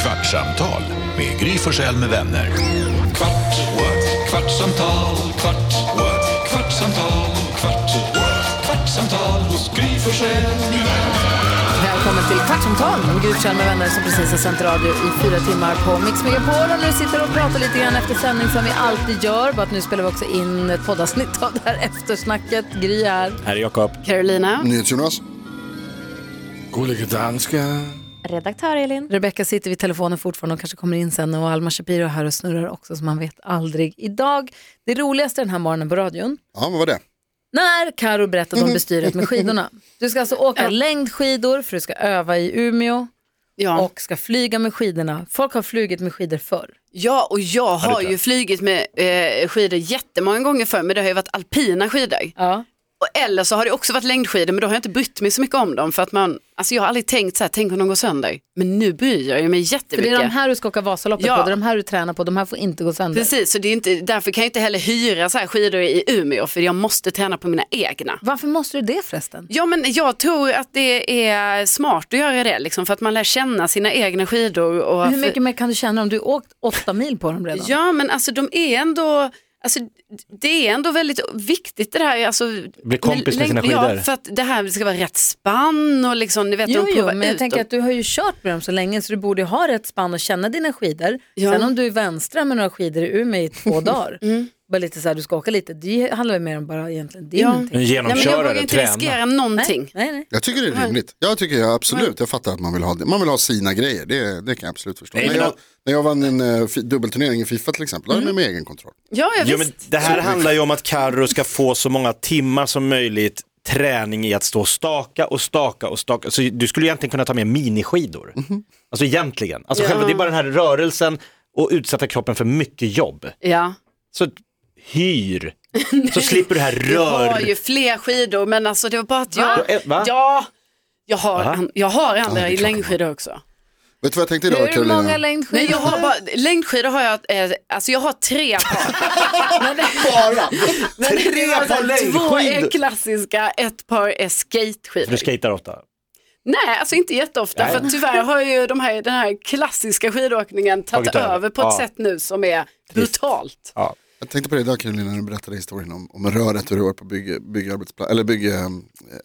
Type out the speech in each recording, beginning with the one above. Kvartsamtal med Gry Forssell med vänner. Kvart, what? kvartsamtal, kvart, what? kvartsamtal, kvart, what? kvartsamtal hos Gry Forssell med vänner. Välkommen till Kvartsamtal med Gry Forssell med vänner som precis har sänt radio i fyra timmar på Mix Megapol. Och nu sitter och pratar lite grann efter sändning som vi alltid gör. Bara att nu spelar vi också in ett poddavsnitt av det här eftersnacket. Gry är... Här är Jakob. Carolina. Mm. NyhetsJonas. Gullige danska. Redaktör Elin. Rebecka sitter vid telefonen fortfarande och kanske kommer in sen. Och Alma Shapiro är här och snurrar också så man vet aldrig. Idag, det roligaste den här morgonen på radion, Ja, vad var det? när Karo berättade om bestyret med skidorna. Du ska alltså åka längdskidor för du ska öva i Umeå och ska flyga med skidorna. Folk har flugit med skidor förr. Ja, och jag du har inte? ju flugit med eh, skidor jättemånga gånger förr, men det har ju varit alpina skidor. Och, eller så har det också varit längdskidor, men då har jag inte brytt mig så mycket om dem, för att man, alltså jag har aldrig tänkt så här, tänk om de går sönder. Men nu bryr jag ju mig För det jättemycket. är de här du ska åka Vasaloppet Ja. på, det är de här du tränar på, de här får inte gå sönder. Precis, så det är inte, därför kan jag inte heller hyra så här skidor i Umeå, för jag måste träna på mina egna. Varför måste du det förresten? Ja, men jag tror att det är smart att göra det, liksom, för att man lär känna sina egna skidor. Och Hur mycket mer kan du känna om du åkt åtta mil på dem redan? Ja, men alltså de är ändå, alltså, det är ändå väldigt viktigt det här. Alltså, Bli kompis med sina längd- skidor. Ja, för att det här ska vara rätt spann och liksom, ni vet, Jo, de jo, provar men jag ut tänker dem. att du har ju kört med dem så länge så du borde ju ha rätt spann och känna dina skidor. Ja. Mm. Sen om du är vänstra med några skidor i Umeå i två dagar, bara lite så här, du ska åka lite, det handlar ju mer om bara egentligen din. Ja. tänker jag. En Nej, men jag genomkörare, vågar inte träna. riskera någonting. Nej, nej. Jag tycker det är rimligt. Jag tycker jag absolut, jag fattar att man vill ha, det. man vill ha sina grejer. Det, det kan jag absolut förstå. Nej, när, men jag, då- när jag vann en eh, fi- dubbelturnering i Fifa till exempel, då hade jag med mig egen kontroll. Ja, ja, Jo, visst. men det här handlar ju om att Carro ska få så många timmar som möjligt träning i att stå och staka och staka och staka. Så du skulle egentligen kunna ta med miniskidor. Alltså egentligen. Alltså Mhm. Ja. själva, det är bara den här rörelsen och utsätta kroppen för mycket jobb. Ja. Så hyr, så slipper du det här Jag har ju rör... fler skidor, men alltså det var bara att jag... Eh, va? Ja, jag har, Va? an, jag har andra det är klart. längdskidor också. Vet du vad jag tänkte idag Hur Carolina? många längdskidor Nej, jag har bara, längdskidor har jag, eh, alltså jag har tre par. Bara! Men det Tre var så par här, Två längdskidor. är klassiska, ett par är skateskidor. Du skejtar ofta. Nej, alltså inte jätteofta. Nej. För tyvärr har ju de här, den här klassiska skidåkningen tagit Tagit över. över på ett Ja. sätt nu som är brutalt. Ja. Jag tänkte på det idag Carolina när du berättade historien om, om röret hur det var på bygg, byggarbetsplats, eller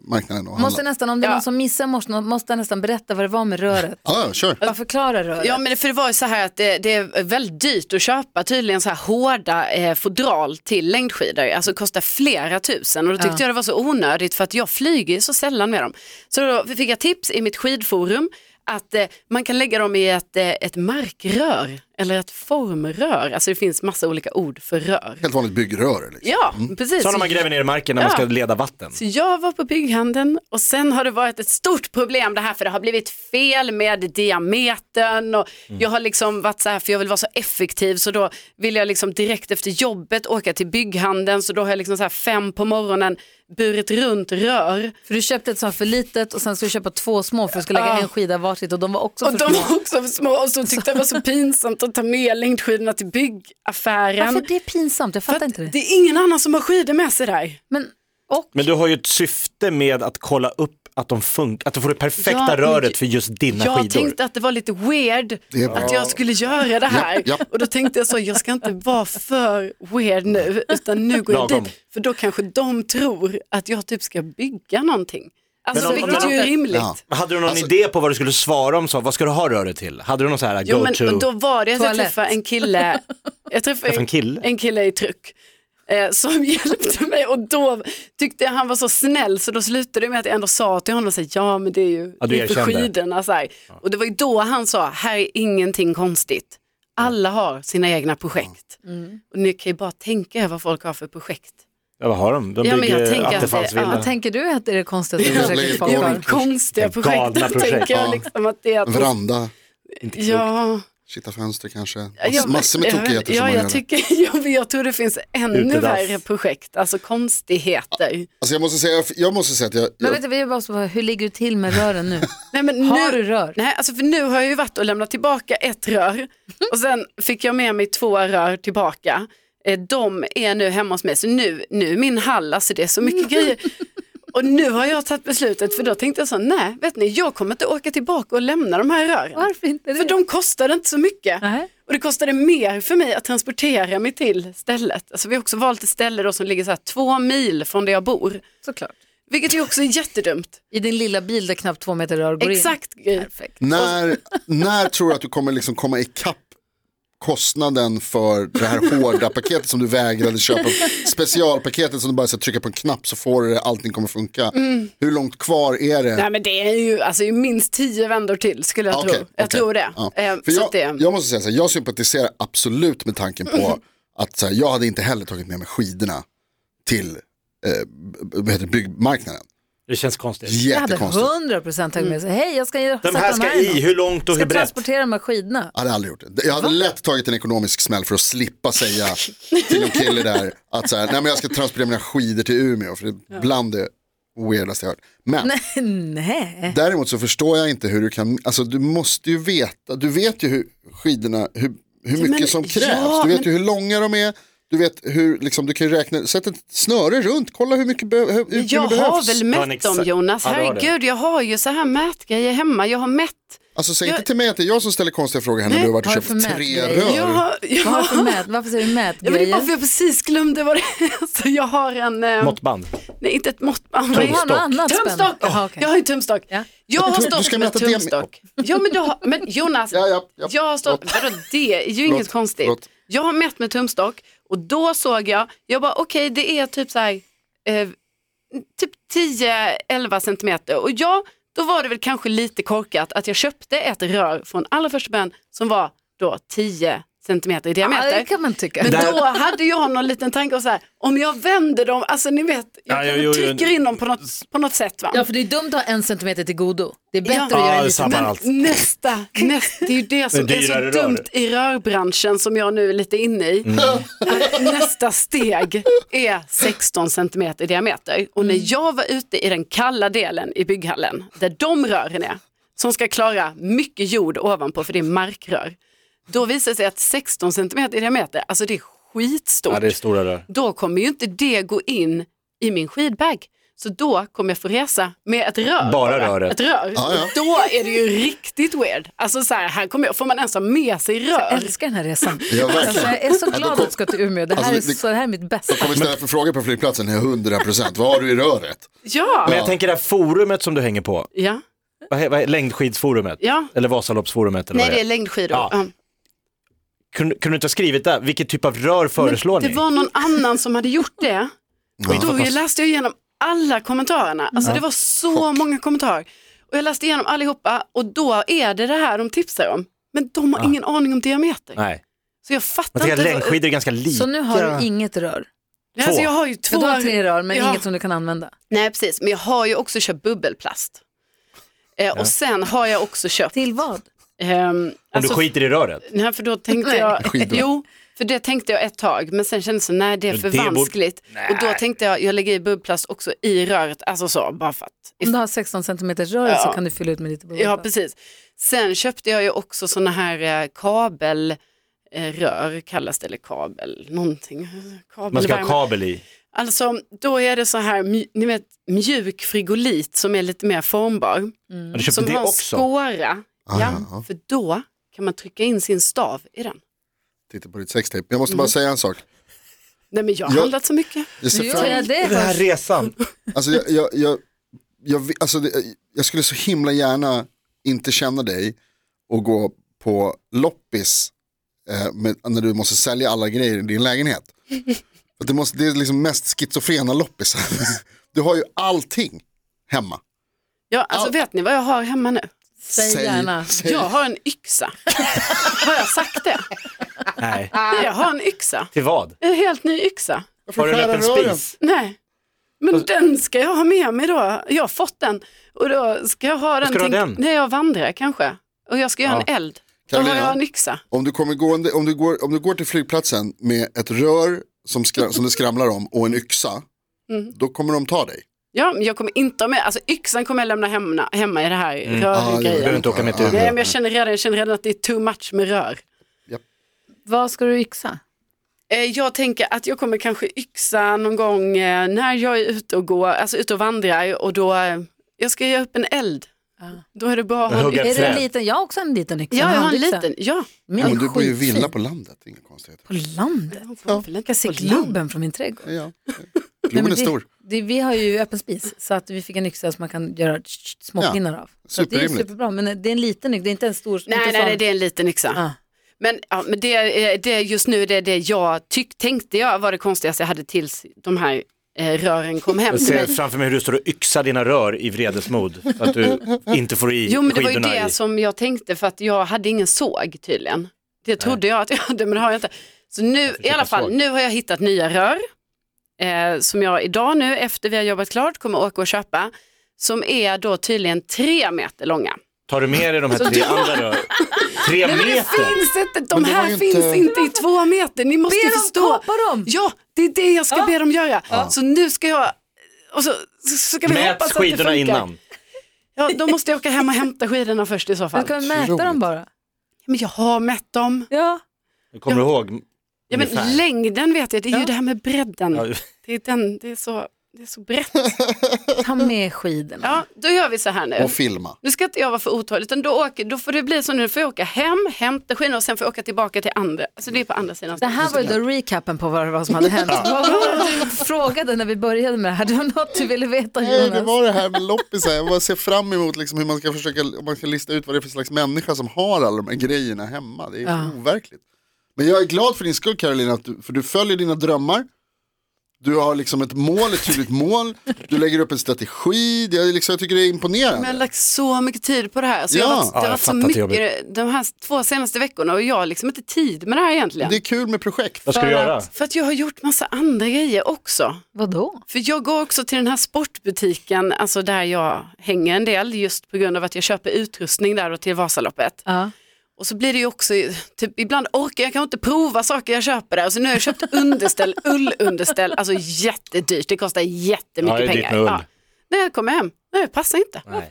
byggmarknaden och Måste handla. nästan, om det är Ja. någon som missar måste, måste jag nästan berätta vad det var med röret. Ja, ja, kör. Bara förklara röret. Ja, men det- för det var ju så här att det, det är väldigt dyrt att köpa tydligen så här hårda eh, fodral till längdskidor. Alltså kostar flera tusen och då tyckte jag det var så onödigt för att jag flyger ju så sällan med dem. Så då fick jag tips i mitt skidforum att eh, man kan lägga dem i ett, eh, ett markrör eller ett formrör. Alltså det finns massa olika ord för rör. Helt vanligt byggrör. Liksom. Ja, precis. Mm. Sådana man gräver ner i marken när man Ja. ska leda vatten. Så jag var på bygghandeln och sen har det varit ett stort problem det här för det har blivit fel med diametern och Mm. jag har liksom varit så här för jag vill vara så effektiv så då vill jag liksom direkt efter jobbet åka till bygghandeln så då har jag liksom så här fem på morgonen burit runt rör För du köpte ett sånt för litet och sen ska du köpa två små för du ska lägga Ja. en skida varsitt och de var också och för de små. var också för små och så tyckte jag det var så pinsamt att ta med längdskidorna till byggaffären. Varför det är pinsamt? Jag För fattar att inte det. det är ingen annan som har skidor med sig där. Men, och, Men du har ju ett syfte med att kolla upp att de funkar, att du får det perfekta Ja, men röret för just dina Jag skidor. tänkte att det var lite weird Det är bra. att jag skulle göra det här. Ja, ja. Och då tänkte jag så, jag ska inte vara för weird nu, utan nu går jag Lagom. dit. För då kanske de tror att jag typ ska bygga någonting. Alltså, Men om- vilket om- ju är rimligt. Ja. Men Hade du någon Alltså- idé på vad du skulle svara om så? Vad ska du ha röret till? Hade du någon så här Jo, men, go-to? och då var det att jag Toalett. träffade en kille, jag träffade Träffade en kille? en kille i tryck eh, som hjälpte mig och då tyckte jag han var så snäll så då slutade det med att jag ändå sa till honom så här, ja men det är ju Ja, du det är för erkände. skidorna. Så här. Och det var ju då han sa, här är ingenting konstigt. Alla har sina egna projekt. Och ni kan ju bara tänka er vad folk har för projekt. Ja, vad har de? De Ja, men jag bygger tänker att det- attefallsvilla. ja, vad tänker du att det är det konstigaste du Ja, försöker lägg folk på. har? Konstiga projekt. Galna projekt. Tänker Ja. jag liksom att det är att de, Veranda, Inte klokt. ja, kitta fönster kanske. Ja, Mass, massor med jag- tokigheter ja, som man jag gör. där. tycker, ja, men jag tror det finns ännu Utedass. värre projekt, alltså konstigheter. Alltså, jag, måste säga, jag, jag måste säga att jag... Men jag vet du, vi måste bara, hur ligger du till med rören nu? Nej, men Har nu, du rör? Nej, alltså för nu har jag ju varit och lämnat tillbaka ett rör och sen fick jag med mig två rör tillbaka. Eh, De är nu hemma hos mig, så nu, nu är min hall, alltså det är så mycket grejer. Och nu har jag tagit beslutet för då tänkte jag så, nej, vet ni, jag kommer inte åka tillbaka och lämna de här rören. Varför inte det? För de kostade inte så mycket. Nej. Och det kostade mer för mig att transportera mig till stället. Alltså vi har också valt ett ställe då som ligger så här två mil från där jag bor. Såklart. Vilket ju också är jättedumt. I din lilla bil där knappt två meter rör går Exakt. in. Gry. Perfekt. När, när tror du att du kommer liksom komma ikapp kostnaden för det här hårda paketet som du vägrade köpa? Specialpaketet som du bara ska trycka på en knapp så får du det, allting kommer funka. Hur långt kvar är det? Nej men det är ju alltså, ju minst tio vändor till skulle jag Ah, Okej, tro. Jag okej. tror det. Ja. Eh, För så jag, att det... jag måste säga så här, jag sympatiserar absolut med tanken på att så här, jag hade inte heller tagit med mig skidorna till eh, b- vad heter det, byggmarknaden. Det känns konstigt. Jag hade Jättekonstigt. 100 procent tagit med sig, hej jag ska sätta De här ska i, hur långt och hur ska brett? transportera de här skidorna. Jag hade aldrig gjort det. Jag hade lätt tagit en ekonomisk smäll för att slippa säga till en kille där att så här, nej men jag ska transportera mina skidor till Umeå för det är bland det weirdaste jag hört. Men Nej. däremot så förstår jag inte hur du kan, alltså du måste ju veta, du vet ju hur skidorna, hur, hur mycket men- som krävs, ja, du vet men- ju hur långa de är, du vet hur, liksom, du kan ju räkna, sätt ett snöre runt, kolla hur mycket be- hur, utrymme Jag har behövs. väl Ja, mätt exakt. dem Jonas, Ja, det har du. herregud jag har ju så här mätgrejer hemma, jag har mätt. Alltså säg jag- inte till mig att det är jag som ställer konstiga frågor här när du har varit och vad är köpt det för tre mätgrejer? rör. Jag har, jag Vad har du för har, mät, varför säger du ja, men det är bara för mätgrejer? jag precis glömde vad det är. Så jag har en, eh, Måttband. nej inte ett måttband. Du har något annat Tumstock! spännande. Jaha, okej. Jag har ju tumstock. Ja. Jag har tror- du stått ska med mäta det med- tumstock. Ja, men, du har, men Jonas, Ja, ja, ja. jag har stått, Förlåt. vadå det är ju inget Förlåt, konstigt. förlåt. Jag har mätt med tumstock och då såg jag, jag bara okej det är typ så här, eh, typ 10-11 centimeter och ja, då var det väl kanske lite korkat att jag köpte ett rör från allra första början som var då 10 centimeter i diameter. Ja, det kan man tycka. Men Där- då hade jag någon liten tanke om så här, om jag vänder dem, alltså ni vet, jag Ja, kanske jo, jo, jo. trycker in dem på något, på något sätt va. Ja, för det är dumt att ha en centimeter till godo. Det är bättre Ja. att Ja, göra en det liten... sabbar allt. Nästa, nästa, det är ju det som Det är är så dyrare rör. Mm. dumt i rörbranschen som jag nu är lite inne i. Att Nästa steg är 16 centimeter i diameter och Mm. när jag var ute i den kalla delen i bygghallen där de rören är som ska klara mycket jord ovanpå för det är markrör. Då visar det sig att 16 centimeter i diameter, alltså det är skitstort Ja, det är stora rör. då kommer ju inte det gå in i min skidbag. Så då kommer jag få resa med ett rör. Bara röret. Ett rör. ja. Och Då är det ju riktigt weird. Alltså så här, här kommer jag, får man ens ha med sig rör? Jag älskar den här resan. Ja, verkligen. alltså, jag är så glad då att kom- du ska till Umeå. Det här, Alltså, det- är, så, det här är mitt bästa. Kommer ställa för frågor på flygplatsen, 100%, vad har du i röret? Ja. Men jag tänker det här forumet som du hänger på, ja. vad he- vad he- längdskidsforumet? Ja. Eller Vasaloppsforumet eller Nej, vad det är det är. längdskidor. Ja. Ja. Kunde, kunde du inte ha skrivit där, vilket typ av rör föreslår Det ni? var någon annan som hade gjort det. Och då Fast- läste jag igenom alla kommentarerna. Alltså det var så många kommentarer. Och jag läste igenom allihopa och då är det det här de tipsar om. Men de har ingen aning om diameter. Nej, Så jag fattar man tänker att inte. längdskidor är ganska Så lika. nu har du inget rör. Nej, alltså Två. jag har ju Ja, två. du har tre rör, men Ja. inget som du kan använda. Nej precis, men jag har ju också köpt bubbelplast. Eh, Och sen har jag också köpt... Till vad? ehm, Om du alltså, skiter i röret. nej, för då tänkte Nej. jag... Skidor. Jo, för det tänkte jag ett tag, men sen kändes det nej det är Men för det borde- vanskligt. Och då tänkte jag, jag lägger i bubbelplast också i röret, alltså så, bara för att... Om du har 16 centimeters rör Ja. så kan du fylla ut med lite bubbel. Ja, precis. Sen köpte jag ju också sådana här eh, kabel... eh, Rör kallas det, eller kabel, någonting. Man ska Kabelvärme. ha kabel i. Alltså, då är det så här, mj- ni vet, mjuk frigolit som är lite mer formbar. Ja, Mm. Du köpte Som det har en också. skåra. Ah, ja, ja. För då kan man trycka in sin stav i den. Titta på ditt sextape, jag Mm. måste bara säga en sak. Nej men jag har Ja. handlat så mycket. Jag ser Nu fram- gör jag det Den här först. resan. Alltså, jag, jag, jag, jag, vi- alltså, det- jag skulle så himla gärna inte känna dig och gå på loppis eh, med, när du måste sälja alla grejer i din lägenhet. För det, måste, det är liksom mest schizofrena loppisar. Du har ju allting hemma. Ja, alltså Ja. vet ni vad jag har hemma nu? Säg gärna. Typ. säg- Jag har en yxa. har jag sagt det? Nej, Nej, jag har en yxa. till vad? En helt ny yxa. Varför Har du en skära öppen rören? spis? Nej. Men den ska jag ha med mig då. Jag har fått den. Och då ska jag ha den, ska du ha tänk- den? när jag vandrar kanske. Och jag ska göra en eld. Då har Carolina? jag en yxa. Om du, kommer gående, om, du går, om du går till flygplatsen med ett rör som, skra, som det skramlar om och en yxa, Mm. då kommer de ta dig. Ja, men jag kommer inte ha med, alltså yxan kommer jag lämna hemma, hemma i det här Ah, rörgrejen. det- Du behöver inte åka med till Nej, Umeå. men jag känner redan, jag känner redan att det är too much med rör. Vad ska du yxa? Eh, Eh, Jag tänker att jag kommer kanske yxa någon gång eh, när jag är ute och går, alltså ute och vandrar och då, eh, jag ska göra upp en eld. Då är det bra att ha en Hugga yxa. Är det en träd. liten? Jag har också Ah. en liten yxa. Ja, jag har en handyxa. liten, ja. Min Ja, är men du bor ju i skitfin. villa på landet, inga konstigheter. På landet? Ja. Jag kan se Globen från min trädgård. Ja. Nej, Globen men det- är stor. Det, vi har ju öppen spis så att vi fick en yxa som man kan göra tsch, små Ja, pinnar av. Så att det är superrimligt. superbra, men det är en liten yxa, det är inte en stor. Nej, inte nej, sån. nej, det är en liten yxa. Ah. Men, ja, men det, eh, det, just nu det är det jag tyck, tänkte jag var det konstigaste jag hade tills de här eh, rören kom hem Jag till ser mig. framför mig hur du står och yxar dina rör i vredesmod. Att du inte får i Jo, men det var ju skidorna det i. som jag tänkte för att jag hade ingen såg tydligen. Det trodde jag att jag hade, men det har jag inte. Så nu, i försöker alla fall, såg. nu har jag hittat nya rör eh, som jag idag nu efter vi har jobbat klart kommer åka och köpa som är då tydligen tre meter långa. Tar du med dig de här tre andra rör? Tre Alltså, Nej, men det meter? finns inte, Men de det var här ju finns inte- inte... i två meter, ni måste Be dem förstå. kapa dem! Ja, det är det jag ska be dem göra. Så nu ska jag, och så, så ska vi Mät hoppas att det skidorna funkar. innan. Ja, då måste jag åka hem och hämta skidorna först i så Men fall. kan vi mäta dem Otroligt. bara? Men jag har mätt dem. Ja. Kommer du ihåg? Ja, men Ungefär. längden vet jag, det är ju det här med bredden. Ja, Det, är den, det, är så, det är så brett. Ta med skidorna. Ja, då gör vi så här nu. Och filma. Nu ska inte jag vara för otålig, utan då, åker, då får det bli så nu, får jag åka hem, hämta skidorna och sen får jag åka tillbaka till andra, alltså det är på andra sidan. Det här var ju då recapen på vad, vad som hade hänt. Vad var det du frågade när vi började med det här? Det var något du ville veta Nej, det Jonas. var det här med loppisar. Jag bara ser fram emot liksom hur man ska försöka om man ska lista ut vad det är för slags människa som har alla de här grejerna hemma. Det är overkligt. Men jag är glad för din skull Carolina, att du, för du följer dina drömmar. Du har liksom ett mål, ett tydligt mål. Du lägger upp en strategi. Det är liksom, jag tycker det är Men jag har imponerande. lagt så mycket tid på det här. Så jag Ja. har, varit- det Ja, har jag varit så fattar att det är mycket de här två senaste veckorna och jag har liksom inte tid med det här egentligen. Det är kul med projekt. Vad ska du För göra? att- För att jag har gjort massa andra grejer också. Vadå? För jag går också till den här sportbutiken, alltså där jag hänger en del, just på grund av att jag köper utrustning där och till Vasaloppet. Ja. Och så blir det ju också, typ, ibland orkar jag kanske inte prova saker jag köper där. Och så nu har jag köpt underställ, ullunderställ, alltså jättedyrt, det kostar jättemycket Ja, det är dyrt pengar. med ull. När jag kommer hem, nej det passar inte. Nej.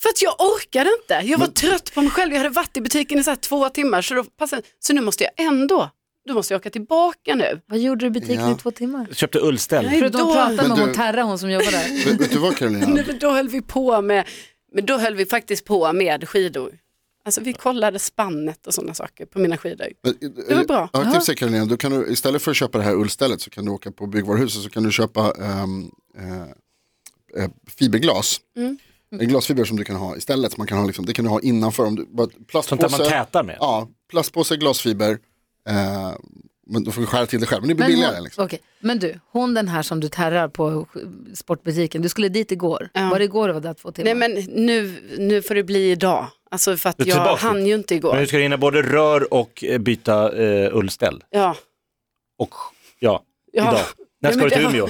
För att jag orkade inte. Jag var trött på mig själv. Jag hade varit i butiken i så här två timmar. Så, då passade... så nu måste jag ändå, då måste jag åka tillbaka nu. Vad gjorde du i butiken Ja. i två timmar? Köpte ullställ. Nej, Förutom att då... prata med Men du- hon Terra, hon som jobbar där. Vet, vet du vad Carolina? Nej, men då höll vi på med, men då höll vi faktiskt på med skidor. Alltså vi kollade spannet och sådana saker på mina skidor. Det var bra. Jag har ett tips till dig, Carolina, typ du kan, du- istället för att köpa det här ullstället så kan du åka på byggvaruhuset så kan du köpa ehm, eh, eh, fiberglas. Mm. En glasfiber som du kan ha istället. som Man kan ha liksom, det kan du ha innanför. Om du, bara Sånt där plastpåse, man tätar med. ja, plastpåse, glasfiber. Eh, men då får du skära till det själv. Men det blir Men, billigare. hon, Liksom. okej. men du, hon den här som du terrar på sk- sportbutiken, du skulle dit igår. Ja. Var det igår du var där två timmar? Nej men nu, nu får det bli idag. Alltså för att Du är jag tillbaka. hann ju inte igår. Men hur ska du hinna både rör och eh, byta eh, ullställ? Ja, Och ja, Ja. idag. När Ja, ska men du till det har- Umeå?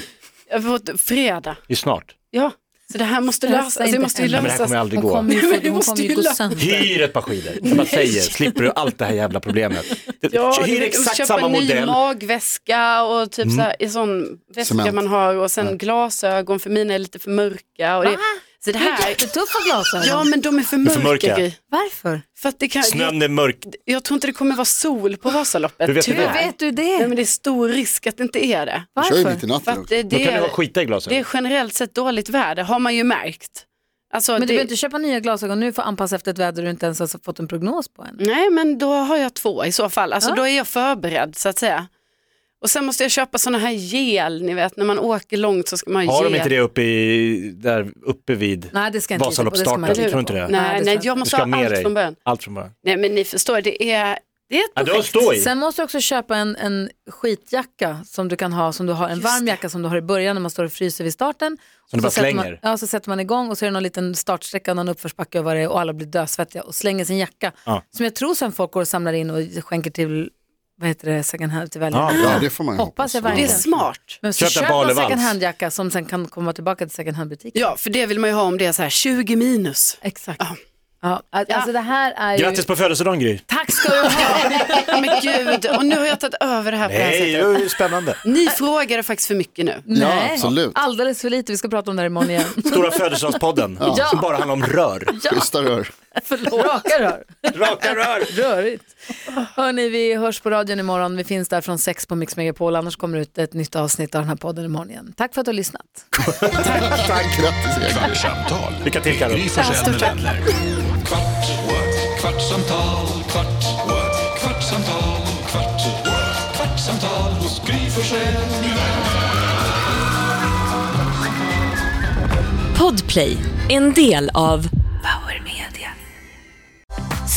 jag får fredag. Det är snart. Ja, så det här måste Stressa lösas. Alltså, det inte måste ju Nej, men det här lösas. kommer ju aldrig hon gå. kommer ju, Nej, men för, det hon måste kommer ju ju gå la- sönder. Hyr ett par skidor, jag bara säger, slipper du allt det här jävla problemet. Ja, Hyr du vet, exakt köpa samma en ny modell. Mm. magväska och typ så här, en sån väska Cement. man har och sen glasögon för mina är lite för mörka. Och det, Ah, så det här, Jättetuffa glasögon. ja men de är för är för mörka. mörka. Gry. Varför? För att det kan, jag, Snön är mörk. jag tror inte det kommer vara sol på Vasaloppet. Hur vet du tyvärr. Hur vet du Nej, det? men det är stor risk att det inte är det. Du kör ju mitt Varför? För i natten att också. det, Då det, kan du ha är, skita i det glasögonen. är generellt sett dåligt väder, har man ju märkt. Alltså, Men du det, behöver inte köpa nya glasögon nu för att anpassa efter ett väder du inte ens har fått en prognos på än. Nej, men då har jag två i så fall. Alltså, Ja. Då är jag förberedd så att säga. Och sen måste jag köpa sådana här gel, ni vet när man åker långt så ska man ha Har gel. de inte det uppe, i, där uppe vid Nej, det ska jag inte lita på, det ska Vasaloppsstarten? man inte Tror lita du på. inte det? Nej, Nej, det tror nej, jag jag måste ha allt från början. Allt från början. Nej, men ni förstår, det är, det är ett Ja, du har projekt. stå i. Sen måste du också köpa en, en skitjacka som du kan ha, som du har, en varm jacka som du har i början när man står och fryser vid starten. Som du Så bara sätter slänger. Man, ja, så sätter man igång och så är det någon liten startsträcka, någon uppförsbacke och vad det är och alla blir dödsvettiga och slänger sin jacka. Ja. Som jag tror sen folk går och samlar in och skänker till, vad heter det, second hand till väljarna. Ja, Ja, det får man ju Hoppas hoppas. jag Det är verkligen. smart. Men så Köp en köper man Balevals. second hand-jacka som sen kan komma tillbaka till second hand-butiken. Ja, för det vill man ju ha om det är så här 20 minus. Exakt. Ja. Alltså det här är ju... Grattis på födelsedagen Gry. Tack ska du ha! Ja, men gud, och nu har jag tagit över det här på det här Nej, det sättet. var ju spännande. Ni frågade faktiskt för mycket nu. Ja, absolut. alldeles för lite. Vi ska prata om det här imorgon igen. Stora födelsedagspodden som bara handlar om rör. Schyssta rör. Raka rör. Raka rör! Rörigt. Hörni, vi hörs på radion imorgon. Vi finns där från sex på Mix Megapol. Annars kommer det ut ett nytt avsnitt av den här podden imorgon igen. Tack för att du har lyssnat. Tack, grattis Erik. Kvartsamtal. Lycka till, Karo. Med Gry Forssell med stort tack. vänner. Kvart, what? kvartsamtal, kvart, what? kvartsamtal, kvart, what? kvartsamtal hos Gry Forssell med vänner. Podplay, en del av Power Media.